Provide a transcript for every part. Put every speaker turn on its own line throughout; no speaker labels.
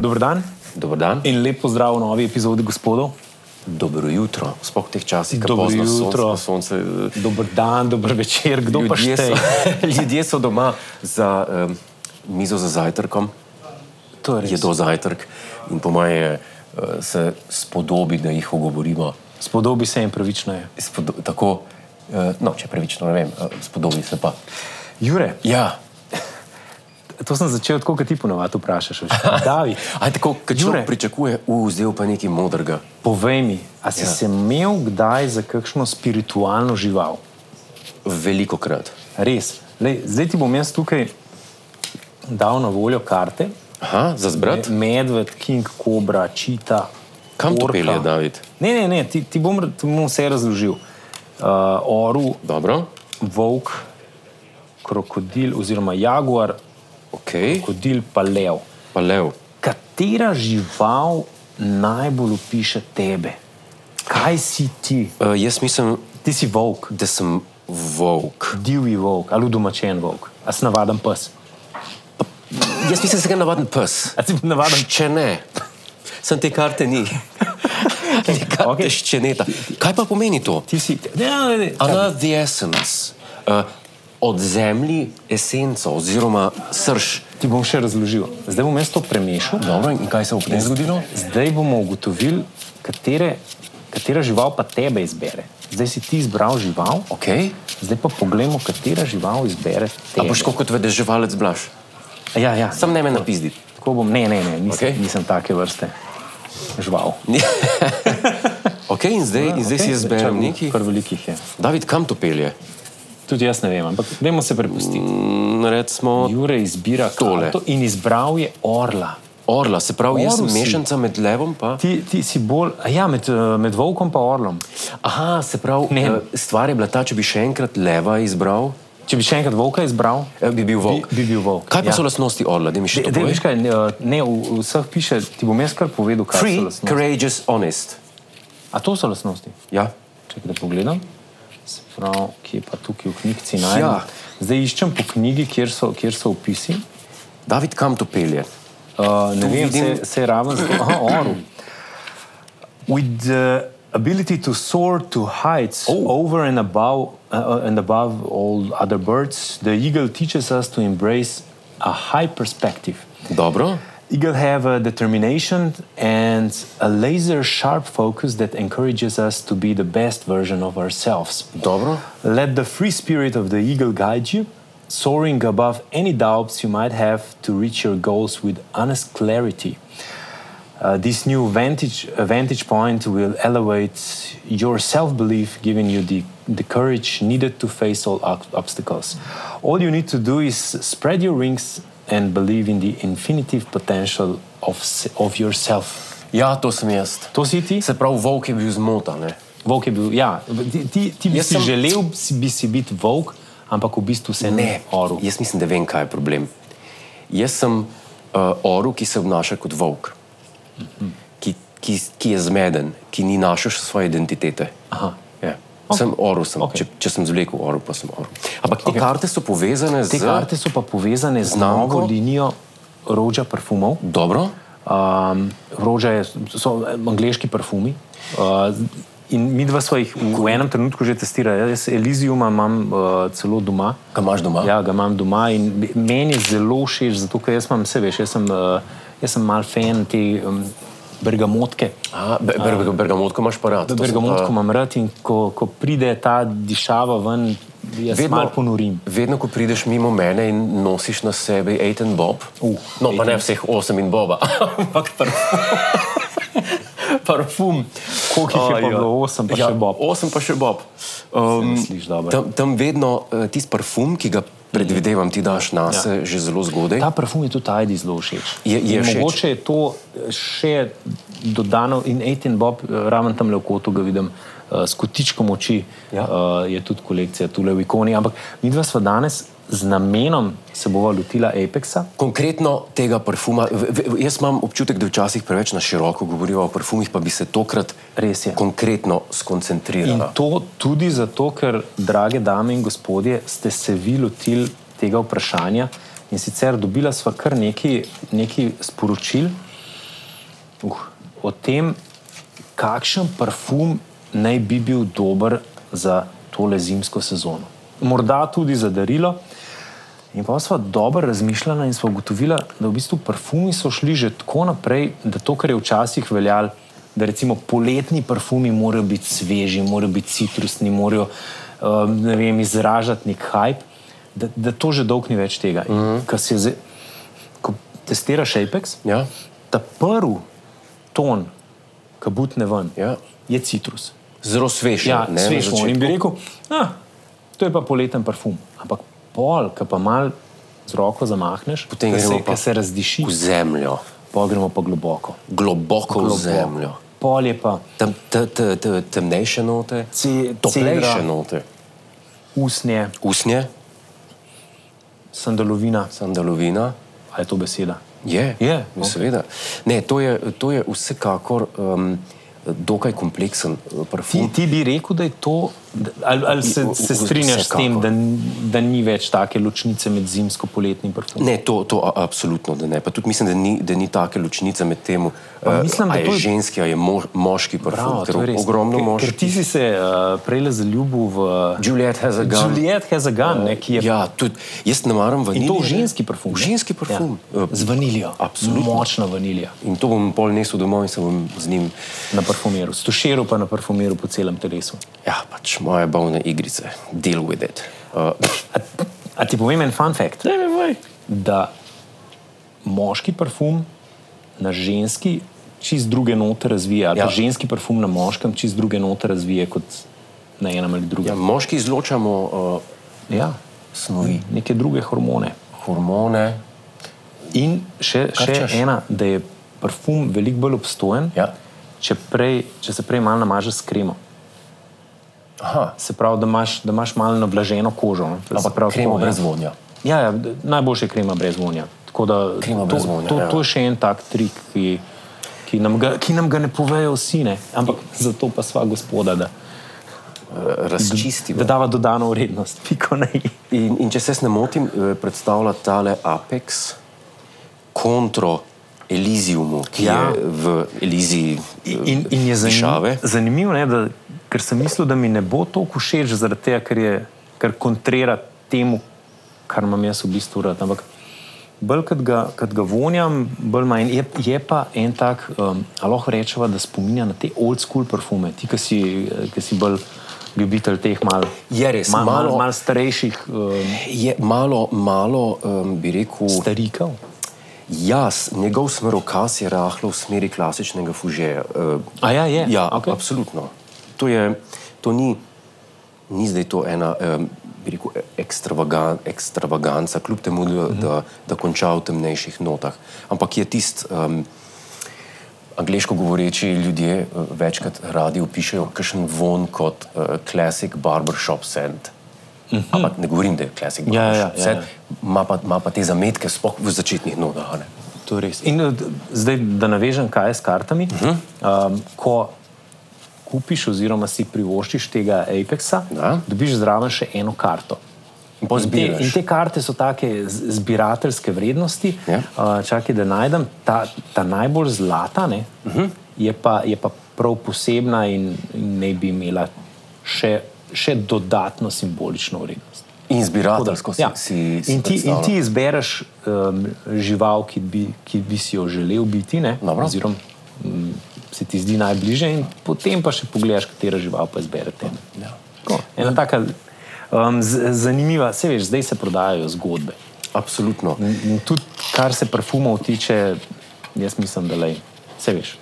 Dobro dan
Dober dan.
in lepo zdrav v novi epizodi gospodov.
Dobro jutro, sploh v teh časih, ko
Dobro
pozno
jutro.
sonce, sonce eh,
Dober dan, dober večer, kdo pa
ljudje,
šteje?
so, ljudje so doma za um, mizo za zajtrkom,
To je res.
jedo zajtrk in po moje uh, se spodobi, da jih ogovorimo.
Spodobi se jim pravično je.
Spodo tako, uh, no, če pravično ne vem, uh, spodobi se pa.
Jure,
Ja,
to sem začel tako, kot ti ponavadi vprašaš. veš. David,
aj tako, kot
Jure.
človek pričakuje, vzel pa nekaj modrega.
povej mi, a si
Ja.
ja. se imel kdaj za kakšno spiritualno žival?
Veliko krat.
Res. Lej, zdaj ti bom jaz tukaj dal na voljo karte.
Aha, za zbrat?
Me- Medved, king, kobra, čita.
Kam to
orka.
pelje, David?
Ne, ne, ne, ti, ti, bom, ti bom vse razložil. Uh, oru,
Dobro,
volk, krokodil oziroma jaguar,
ok,
krokodil pa lev.
pa lev.
Katera žival najbolj opiše tebe? Kaj si ti?
Uh, jaz mislim,
Ti si volk,
da sem volk.
divji volk ali domačen volk, a si navaden pes.
Jaz nisem se ga navaden pes.
A si navaden
Če ne, sem te karte ni. Te karte
Okej.
okay. še ne. Kaj pa pomeni to?
ti si. Ne, ne, ne.
Ana the essence. Uh, od zemlji esenco oziroma srž.
Ti bom še razložil. Zdaj bom jaz to premešal.
Dobro, in kaj se bo potem zgodilo?
Zdaj bomo ugotovili, katere, katera žival pa tebe izbere. Zdaj si ti izbral žival,
Okay.
zdaj pa poglejmo, katera žival izbere
A
tebe.
boš tako kot vedeževalec blaš.
Ja, ja.
Sam ne me napizdi.
Tako bom, ne, ne, ne nisem,
Okej.
okay. nisem take vrste žival.
ok, in zdaj, in zdaj okay. si jaz
Čakaj,
berem nekaj.
Kar velikih je.
David, kam to pelje?
Tudi jaz ne vem, ampak dajmo se prepustiti.
Mm, Recimo
Jure izbira
Tole.
karto in izbral je orla.
orla, se pravi, jaz sem
Orl si.
mešanica med levom pa.
Ti, ti si bolj, a ja, med, eh, med volkom pa orlom.
Aha, se pravi,
Ne.
ne. stvar je bila ta, če bi še enkrat leva izbral,
Če bi še enkrat volka izbral,
eh, bi bil volk.
Bi- bi bil volk,
Kaj pa
ja.
so lastnosti orla, da mi še to
da veš
poveš?
kaj, ne, eh, ne, v v vseh piše, ti bom jaz kar povedal, kaj
Free,
so lastnosti.
courageous, honest.
A to so lastnosti?
Ja.
Čekaj, da pogledam. Se pravi, kje pa tukaj v knjigi najdem.
Ja.
Zdaj iščem po knjigi, kjer so, kjer so opisi.
David, kam to pelje?
Uh, ne
Tu
vem,
vidim-
se, se je raven zelo oru. With the ability to soar to heights oh. over and above, uh, and above all other birds, the eagle teaches us to embrace a high perspective.
Dobro.
Eagle have a determination and a laser sharp focus that encourages us to be the best version of ourselves.
Dobro.
Let the free spirit of the eagle guide you, soaring above any doubts you might have to reach your goals with honest clarity. Uh, this new vantage, uh, vantage point will elevate your self belief, giving you the, the courage needed to face all ob- obstacles. All you need to do is spread your wings and believe in the infinitive potential of, s- of yourself.
Ja, to sem jaz.
To si ti?
Se pravi, volk je bil zmotan. ne?
Volk je bil, ja, ti, ti, ti bi
Jaz
si
sem-
sem... želel si- bi si biti volk, ampak v bistvu se
Ne,
ne oril.
jaz mislim, da vem, kaj je problem. Jaz sem uh, orel, ki se obnaša kot volk,
Mhm.
ki, ki, ki je zmeden, ki ni našel še svoje identitete.
Aha.
Ja.
Ok.
Sem orel, sem,
Ok.
okay. če, če sem zvlekel orel, pa sem orel. Ampak te
Ok.
okay. karte so povezane
Te
z
karte so pa povezane z novo
Znamko?
linijo rožja parfumov.
Dobro,
Um, rožja je, so angliški parfumi. Uh, in mi dva smo jih v enem trenutku že testirali. Jaz Elizium imam uh, celo doma.
ga imaš doma.
Ja, ga imam doma in bi- meni je zelo všeč, zato ker jaz imam vse, veš, jaz sem, uh, jaz sem mal fan te um, bergamotke.
A, be, ber, ber, bergamotko imaš pa rad. to sem
Bergamotko
pa-
imam rad in ko, ko pride ta dišava ven, jaz vedno malo ponorim.
vedno, ko prideš mimo mene in nosiš na sebi Aid and Bob,
Uh,
no pa ne vseh osem in Boba, ampak parfum. parfum.
Koliko jih je pa
Ajo.
bilo? Osem, pa še Bob.
Osem pa še Bob. Um,
misliš, dobro.
tam, tam vedno uh, tisti parfum, ki ga predvidevam, ti daš na se ja. že zelo zgodaj.
Ta parfum je tudi Aidi zelo všeč.
Je- je
In
všeč.
Mogoče je to še dodano in Aiden Bob, eh, ravno tam le v kotu ga vidim, eh, s kotičkom oči
Ja.
eh, je tudi kolekcija tule v ikoni. Ampak mi dva sva danes z namenom se bova lotila Apexa.
Konkretno tega parfuma, v- v- jaz imam občutek, da včasih preveč na široko govorimo o parfumih, pa bi se tokrat
Res je.
konkretno
In
skoncentrirala.
to tudi zato, ker, drage dame in gospodje, ste se vi lotili tega vprašanja. In sicer dobila sva kar nekaj, nekaj sporočil, uh, o tem, kakšen parfum naj bi bil dober za tole zimsko sezono. Morda tudi za darilo. In pa smo dobro razmišljali in smo ugotovili, da v bistvu parfumi so šli že tako naprej, da to, kar je včasih veljalo, da recimo poletni parfumi morajo biti sveži, morajo biti citrusni, morajo um, ne vem, izražati nek hype, da, da to že dolg ni več tega. Mm -hmm. Ko, zdaj, ko testiraš Apex,
Mhm. Ja,
ta prvi ton, ki butne ven,
ja.
je citrus.
Zelo svež.
Ja,
ne, na
svež vonj. In
začetku.
bi rekel, ah, to je pa poleten parfum. Ampak pol, ki pa mal z roko zamahneš,
Potem
ko se,
gremo pa
ko se razdiši,
v zemljo,
pol gremo pa globoko.
globoko v
globoko.
zemljo.
Pol je pa
Tem, te, te, te, temnejše note,
Ce-
toplejše
cedra.
note,
usnje,
usnje,
sandalovina,
sandalovina.
ali je to beseda.
Je,
Je,
ja,
ok.
seveda. Ne, to, je, to je vsekakor um, dokaj kompleksen eh,
Ti,
parfum.
ti bi rekel, da je to, da- ali, ali se,
V- v-
se strinjaš s tem,
vsekakor.
da, n- da ni več take ločnice med zimsko-poletnim parfumom?
Ne, to, to a, absolutno da ne. Pa tudi mislim, da ni, da ni take ločnice med tem, uh,
Pa mislim,
a
da
je
to je-
ženski, a je mo, moški parfum.
Bravo,
Ker
to je res.
Mm, ogromno
Ker- Ker
moških.
ti si se uh, prej zaljubil v
Juliet has a gun.
Juliet Hezagan, uh, ki je
Ja, tudi jaz ne maram vanilje.
In to v ženski parfum.
V
ne?
ženski parfum.
Ja.
Eh,
Z vanilijo.
Absolutno.
Močna vanilija.
In to bom pol nesel domov in se bom z njim.
Na parfumiru, s tušeru pa na parfumiru po celem telesu.
Ja, pač moje bavne igrice, deal with it. Uh,
A, a ti povem en fun fact,
ne vem, vaj.
da moški parfum na ženski čist druge note razvija, ali ja.
Ja.
pa ženski parfum na moškem čist druge note razvije kot na enem ali
Ja,
drugem.
moški izločamo uh,
Ja. ja.
snovi,
Neke druge hormone.
hormone.
In še,
Kar
še
češ.
ena, da je parfum veliko bolj obstojen,
Ja.
če, prej, če se prej malo namaže s kremo.
Aha,
Se pravi, da imaš, da imaš malo nablaženo kožo. ne. To se
ampak
pravi,
kremo
tako, ja.
brez vonja.
Ja, ja, d- najboljše je krema brez vonja. Tako da
Krema
to,
brez vonja,
to,
ja.
to je še en tak trik, ki, ki, nam ga, ki nam ga ne povejo vsi. Ne? Ampak zato pa sva gospoda, da,
Uh, Razčistimo.
da dava dodano vrednost, piko na i.
In, in če se jaz ne motim, eh, predstavlja tale Apex kontro Eliziumu, ki
Ja.
ja. je v Eliziji. eh,
In, in je
Dišave.
zanimivo, zanimiv, ne, da, ker sem mislil, da mi ne bo toliko všeč, zaradi tega, ker, je, ker kontrira temu, kar imam jaz v bistvu rad. Ampak bolj kot ga, kot ga vonjam, bolj manj. Je, je pa en tak, um, ali lahko rečemo, da spominja na te old school parfume, ti, ki si, eh, ki si bolj ljubitelj teh mal,
Je res,
mal, mal,
malo-
mal starejših um,
Je malo, malo um, bi rekel,
starikov.
jaz, njegov smerokas je rahlo v smeri klasičnega fužeja. Uh,
A ja, je.
ja, okay.
okay.
absolutno. To, je, to ni, ni zdaj to ena, um, bi rekel, ekstravagan, ekstravaganca, kljub temu, da,
Mhm.
mm -hmm. da, da konča v temnejših notah. Ampak je tisti. Um, Angliško govoreči ljudje eh, večkrat radi opišajo kakšen von kot uh, classic barbershop scent. Mm -hmm. Ampak ne govorim, da je classic
Mhm. ja,
barbershop
ja,
scent,
ja.
ima pa, ima pa te zametke, sploh v začetnih notah. a ne.
To je res. In eh, d- zdaj, da navežem, kaj je s kartami.
Mhm.
Uh -huh. um, ko kupiš, oziroma si privoščiš tega Apexa,
Da.
dobiš zraven še eno karto.
In pol
In te,
zbiraš.
in te karte so take z- zbirateljske vrednosti.
Ja.
Uh, čakaj, da najdem ta, ta najbolj zlata, ne, uh
Mhm.
-huh. je, pa, je pa prav posebna in, in ne bi imela še, še dodatno simbolično vrednost.
In zbirateljsko si,
Ja.
si, si
in, ti, in
predstavljam.
ti izbereš um, žival, ki bi, ki bi si jo želel biti, ne?
Dobro.
oziroma um, se ti zdi najbližje, in potem pa še pogledaš, katero žival pa izberete.
Ja.
Tako, Ena taka um, z, zanimiva, se veš, zdaj se prodajajo zgodbe.
Absolutno.
In, in tudi kar se parfumov tiče, jaz mislim, da le, se veš.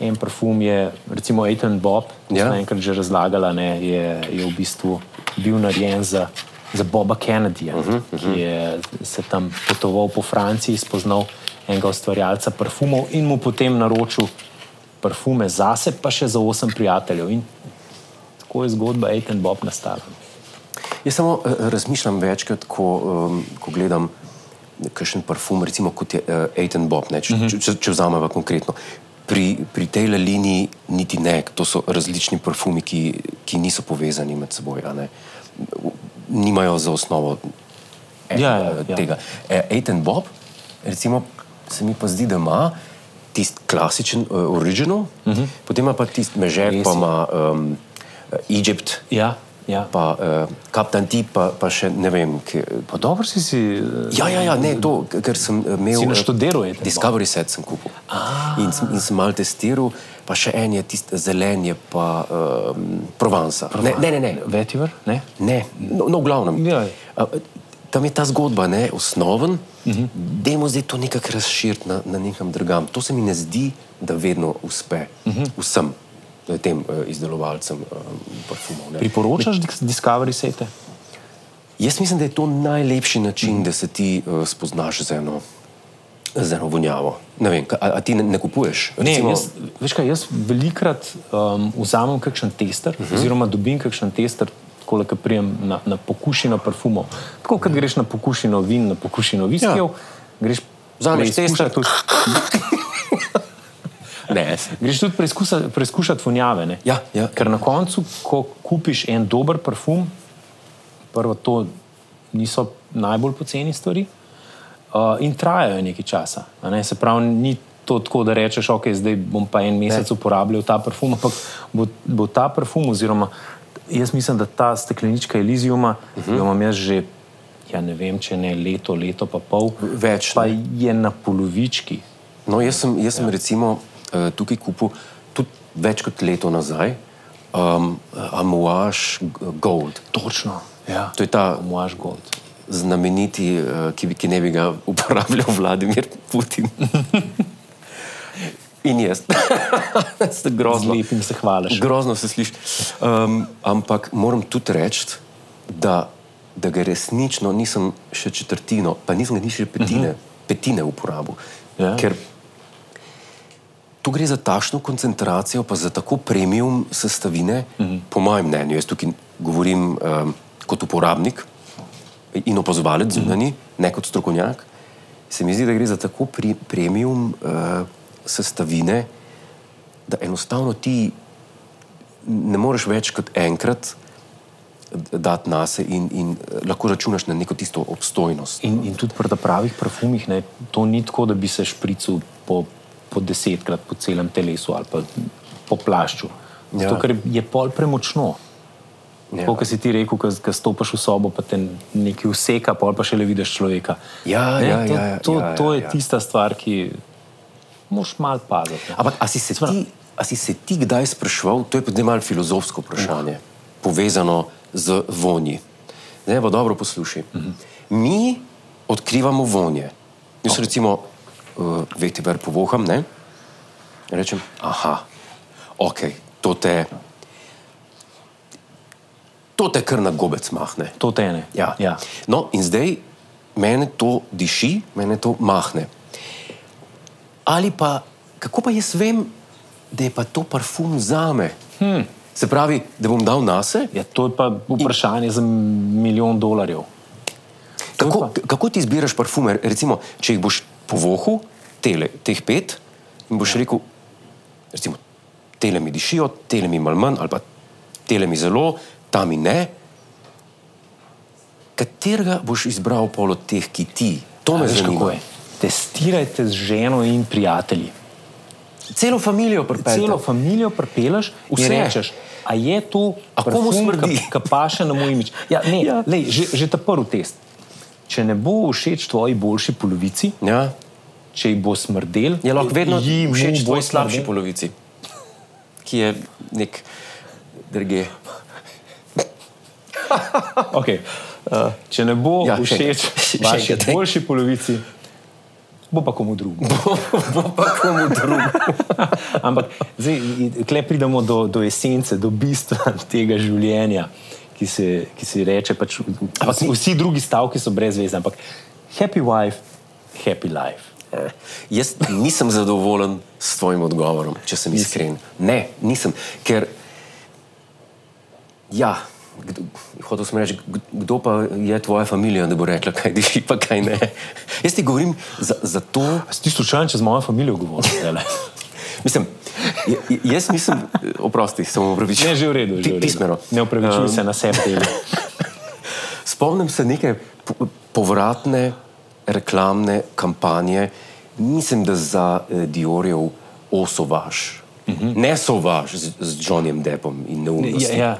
En parfum je, recimo Aiden Bob, ki
Ja.
smo enkrat že razlagali, ne, je, je v bistvu bil narejen za, za Boba Kennedyja, uh -huh, uh -huh. ki je se tam potoval po Franciji, spoznal enega ustvarjalca parfumov in mu potem naročil parfume zase, pa še za osem prijateljev. In tako je zgodba Aiden Bob nastala.
Jaz samo eh, razmišljam večkrat, ko, um, ko gledam kakšen parfum, recimo kot je uh, Aiden Bob, ne, če,
Mhm.
uh -huh. če, če vzamemo konkretno. Pri, pri tej liniji niti ne, to so različni parfumi, ki, ki niso povezani med seboj, a ne. nimajo za osnovo
Ja, ja,
eh,
ja.
tega. Ja. Aiden Bob, recimo, se mi pa zdi, da ima tisti klasičen, uh, original, uh
Mhm.
-huh. potem ima pa tisti mežer, pa ima um, Egypt,
Ja, ja.
pa uh, Captain Tip, pa, pa še ne vem. Ki,
Pa dobro si si. eh,
ja, ja, ja, ne, to, ker sem eh, imel.
Si
eh,
naštudiral je treba.
Discovery set sem kupil. In, sem- in sem malo testiral, pa še en je tisti zelen, je pa um, Provansa. Ne, ne, ne. ne.
Vetiver, ne?
Ne, no, no v glavnem.
Ja.
A, Tam je ta zgodba ne, osnoven, uh
Mhm.
-huh. dajmo zdaj to nekako razširiti na, na nekam drugam. To se mi ne zdi, da vedno uspe uh
Mhm.
-huh. vsem eh, tem eh, izdelovalcem eh, parfumov. ne.
Priporočaš dis- Discovery sete?
Jaz mislim, da je to najlepši način, mm. da se ti uh, spoznaš z eno, z eno vonjavo. Ne vem, ka- a, a ti ne, ne kupuješ?
Ne, jaz, veš kaj, jaz velikrat um, vzamem kakšen tester, uh -huh. oziroma dobim kakšen tester, ko lahko prijem na, na pokušino parfumov. Tako kot greš na pokušino vin, na pokušino viskijev, Mhm. ja. greš
Vzameš
preizkušat
tester.
tudi-
ne.
Greš tudi preizkusa- preizkušat vonjave. ne.
Ja, ja.
Ker na koncu, ko kupiš en dober parfum, prvo to niso najbolj poceni stvari uh, in trajajo nekaj časa. a Ne? Se pravi, ni to tako, da rečeš, ok, zdaj bom pa en mesec ne. uporabljal ta parfum, ampak bo, bo ta parfum, oziroma jaz mislim, da ta steklenička Elysiuma, uh -huh. jo imam jaz že, ja ne vem, če ne leto, leto pa pol,
Več,
pa
ne.
je na polovički.
No, jaz sem, jaz sem ja. recimo uh, tukaj kupil tudi več kot leto nazaj um, Amouage Gold.
Točno. Ja.
To je ta
Moaš gold.
znameniti, eh, ki, bi- ki ne bi ga uporabljal Vladimir Putin. In jaz. Ste
Z
grozno.
lepim se hvališ.
Grozno se sliši. Um, ampak moram tudi reči, da, da ga resnično nisem še četrtino, pa nisem ga ni še petine, uh -huh. petine uporabil.
Ja.
Ker tu gre za takšno koncentracijo, pa za tako premium sestavine, uh -huh. po mojem mnenju. Jaz tukaj govorim um, kot uporabnik in opazovalec zunani, uh -huh. ne kot strokovnjak. Se mi zdi, da gre za tako pri, premium uh, sestavine, da enostavno ti ne moreš več kot enkrat dati na sebe in, in eh, lahko računaš na neko tisto obstojnost.
In, in tudi pri ta pravih parfumih, ne, to ni tako, da bi se šprical po, po desetkrat po celem telesu ali pa po plašču.
Ja.
Zato, ker je pol premočno.
Ja.
Tako, kot si ti rekel, ko stopiš v sobo, pa te nekaj useka, pol pa še le vidiš človeka.
Ja,
ne,
ja,
to,
ja, ja,
to,
ja,
to je
ja, ja.
tista stvar, ki moš mal paziti. ne.
Ampak, a si, se ti, a si se ti kdaj spraševal, to je pa zdaj malo filozofsko vprašanje, povezano z vonji. Zdaj pa dobro poslušaj. Mi odkrivamo vonje. Jaz okay. recimo uh, vetiver povoham, ne? rečem, aha, ok, to te, to te kar na gobec mahne.
To te ne.
Ja.
Ja.
No, in zdaj mene to diši, mene to mahne. Ali pa, kako pa jaz vem, da je pa to parfum za me? Hmm. Se pravi, da bom dal na sebe.
Ja, Hm. to je pa vprašanje za milijon dolarjev.
Kako, kako ti izbiraš parfume? Recimo, če jih boš povohal, tele, teh pet, in
Ja.
boš rekel, recimo, tele mi dišijo, tele mi malo manj, ali pa tele mi zelo, ta mi ne. Katerega boš izbral pol od teh, ki ti? To me
Veš, kako
zanima.
je? Testirajte z ženo in prijatelji.
Celo družino
Peljte.
pripeljati.
Celo družino pripeleš in
Vse.
rečeš, a je to,
A komu smrdi?"
ki paše na moj imič. Ja, ne, ja.
Ja.
Lej, že, že ta prvi test. Če ne bo všeč tvoji boljši polovici,
Ja,
če ji bo smrdel,
je lahko vedno
ji mu
všeč
bo
tvoji slabši
smrdel.
polovici, ki je nek drge.
Okay. Uh, če ne bo ja,
Ja, še
všeč
enkrat. Še
vaši
enkrat.
boljši polovici, bo pa komu drugemu.
Bo pa komu drugemu.
Ampak zdaj tukaj pridemo do, do esence, do bistva tega življenja, ki se, ki se ji reče. Pač,
Ampak
vsi,
ni-
vsi drugi stavki so brez veze, ampak happy wife, happy life.
Eh, Jaz nisem zadovoljen s tvojim odgovorom, če sem iskren. Ne, nisem. Ker, ja, kdo- hotel sem reči, kd- kdo pa je tvoja družina, da bo rekla, kaj diši, pa kaj ne. Jaz ti govorim za, za to.
A si ti slučajen, če z mojo familijo govoriš? zdajle?
Mislim, j- j- jaz nisem, oprosti, sem
Ne,
upravičen.
že v redu. že v redu.
Pismeno.
Ne upravičuj um, se na sebe. tega.
Spomnim se neke po- povratne reklamne kampanje, Mislim, da za eh, Diorjev osovaž. Mm -hmm. Ne sovaž z, z Johnnyjem Deppom in neumnostjo.
Mhm. Ja, ja.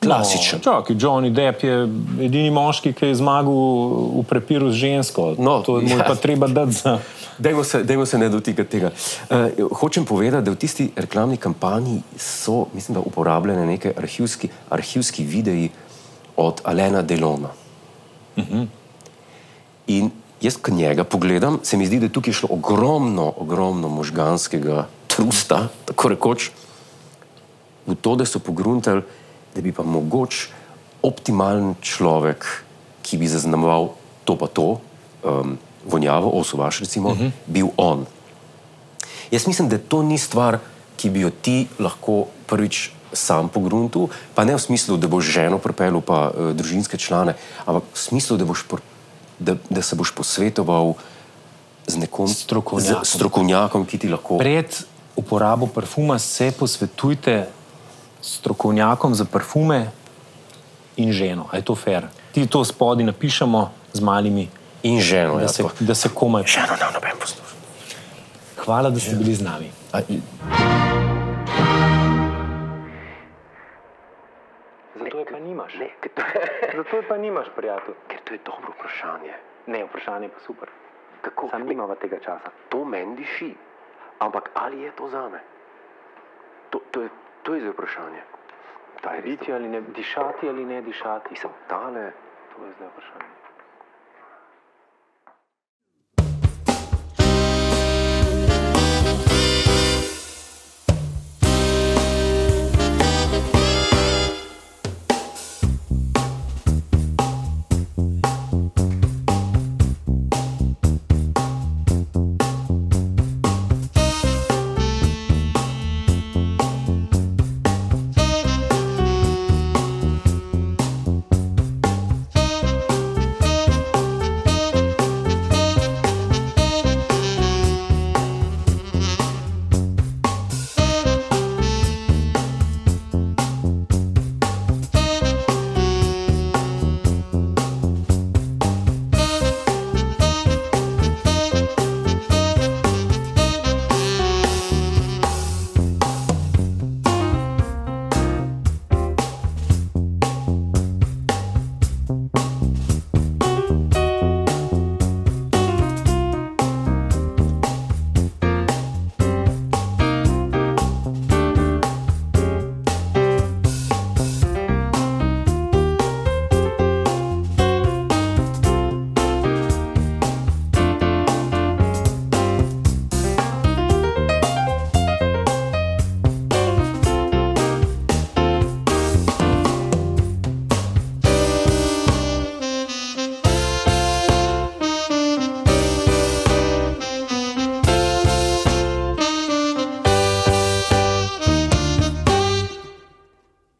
Klasičen.
No, Čakaj, Johnny Depp je edini moški, ki je zmagal v prepiru z žensko.
No,
to mu je pa
ja.
treba dati za.
Dajmo se, dajmo se ne dotikati tega. Uh, hočem povedati, da v tisti reklamni kampanji so, mislim, da uporabljene neke arhivski, arhivski videi od Alena Delona. Uh -huh. In jaz, ko njega pogledam, se mi zdi, da je tukaj šlo ogromno, ogromno možganskega trusta, tako rekoč, v to, da so pogruntali, da bi pa mogoče optimalen človek, ki bi zaznamoval to pa to, um, vonjavo, osovaš recimo,
Mhm.
uh -huh. bil on. Jaz mislim, da to ni stvar, ki bi jo ti lahko prvič sam pogruntil, pa ne v smislu, da boš ženo pripeljal, pa uh, družinske člane, ampak v smislu, da, boš pr- da, da se boš posvetoval z nekom
Strokovnjakom.
z strokovnjakom ki ti lahko
Pred uporabo parfuma se posvetujte strokovnjakom za parfume in ženo. A je to fair? Ti to spodaj napišemo z malimi,
in ženo.
da
Ja,
se,
to.
da se komaj.
ženo ne bo noben poslušal.
Hvala, da ste bili z nami.
A-
Zato je pa nimaš. Ne, Zato je pa nimaš, prijatelj.
Ker to je dobro vprašanje.
Ne, vprašanje je pa super.
Kako?
Sam nimava tega časa.
To meni diši, ampak ali je to za me? To, to, je, to je zdaj vprašanje. Ta je res-
Biti ali ne, dišati ali ne dišati. Mislim, tale, to je zdaj vprašanje.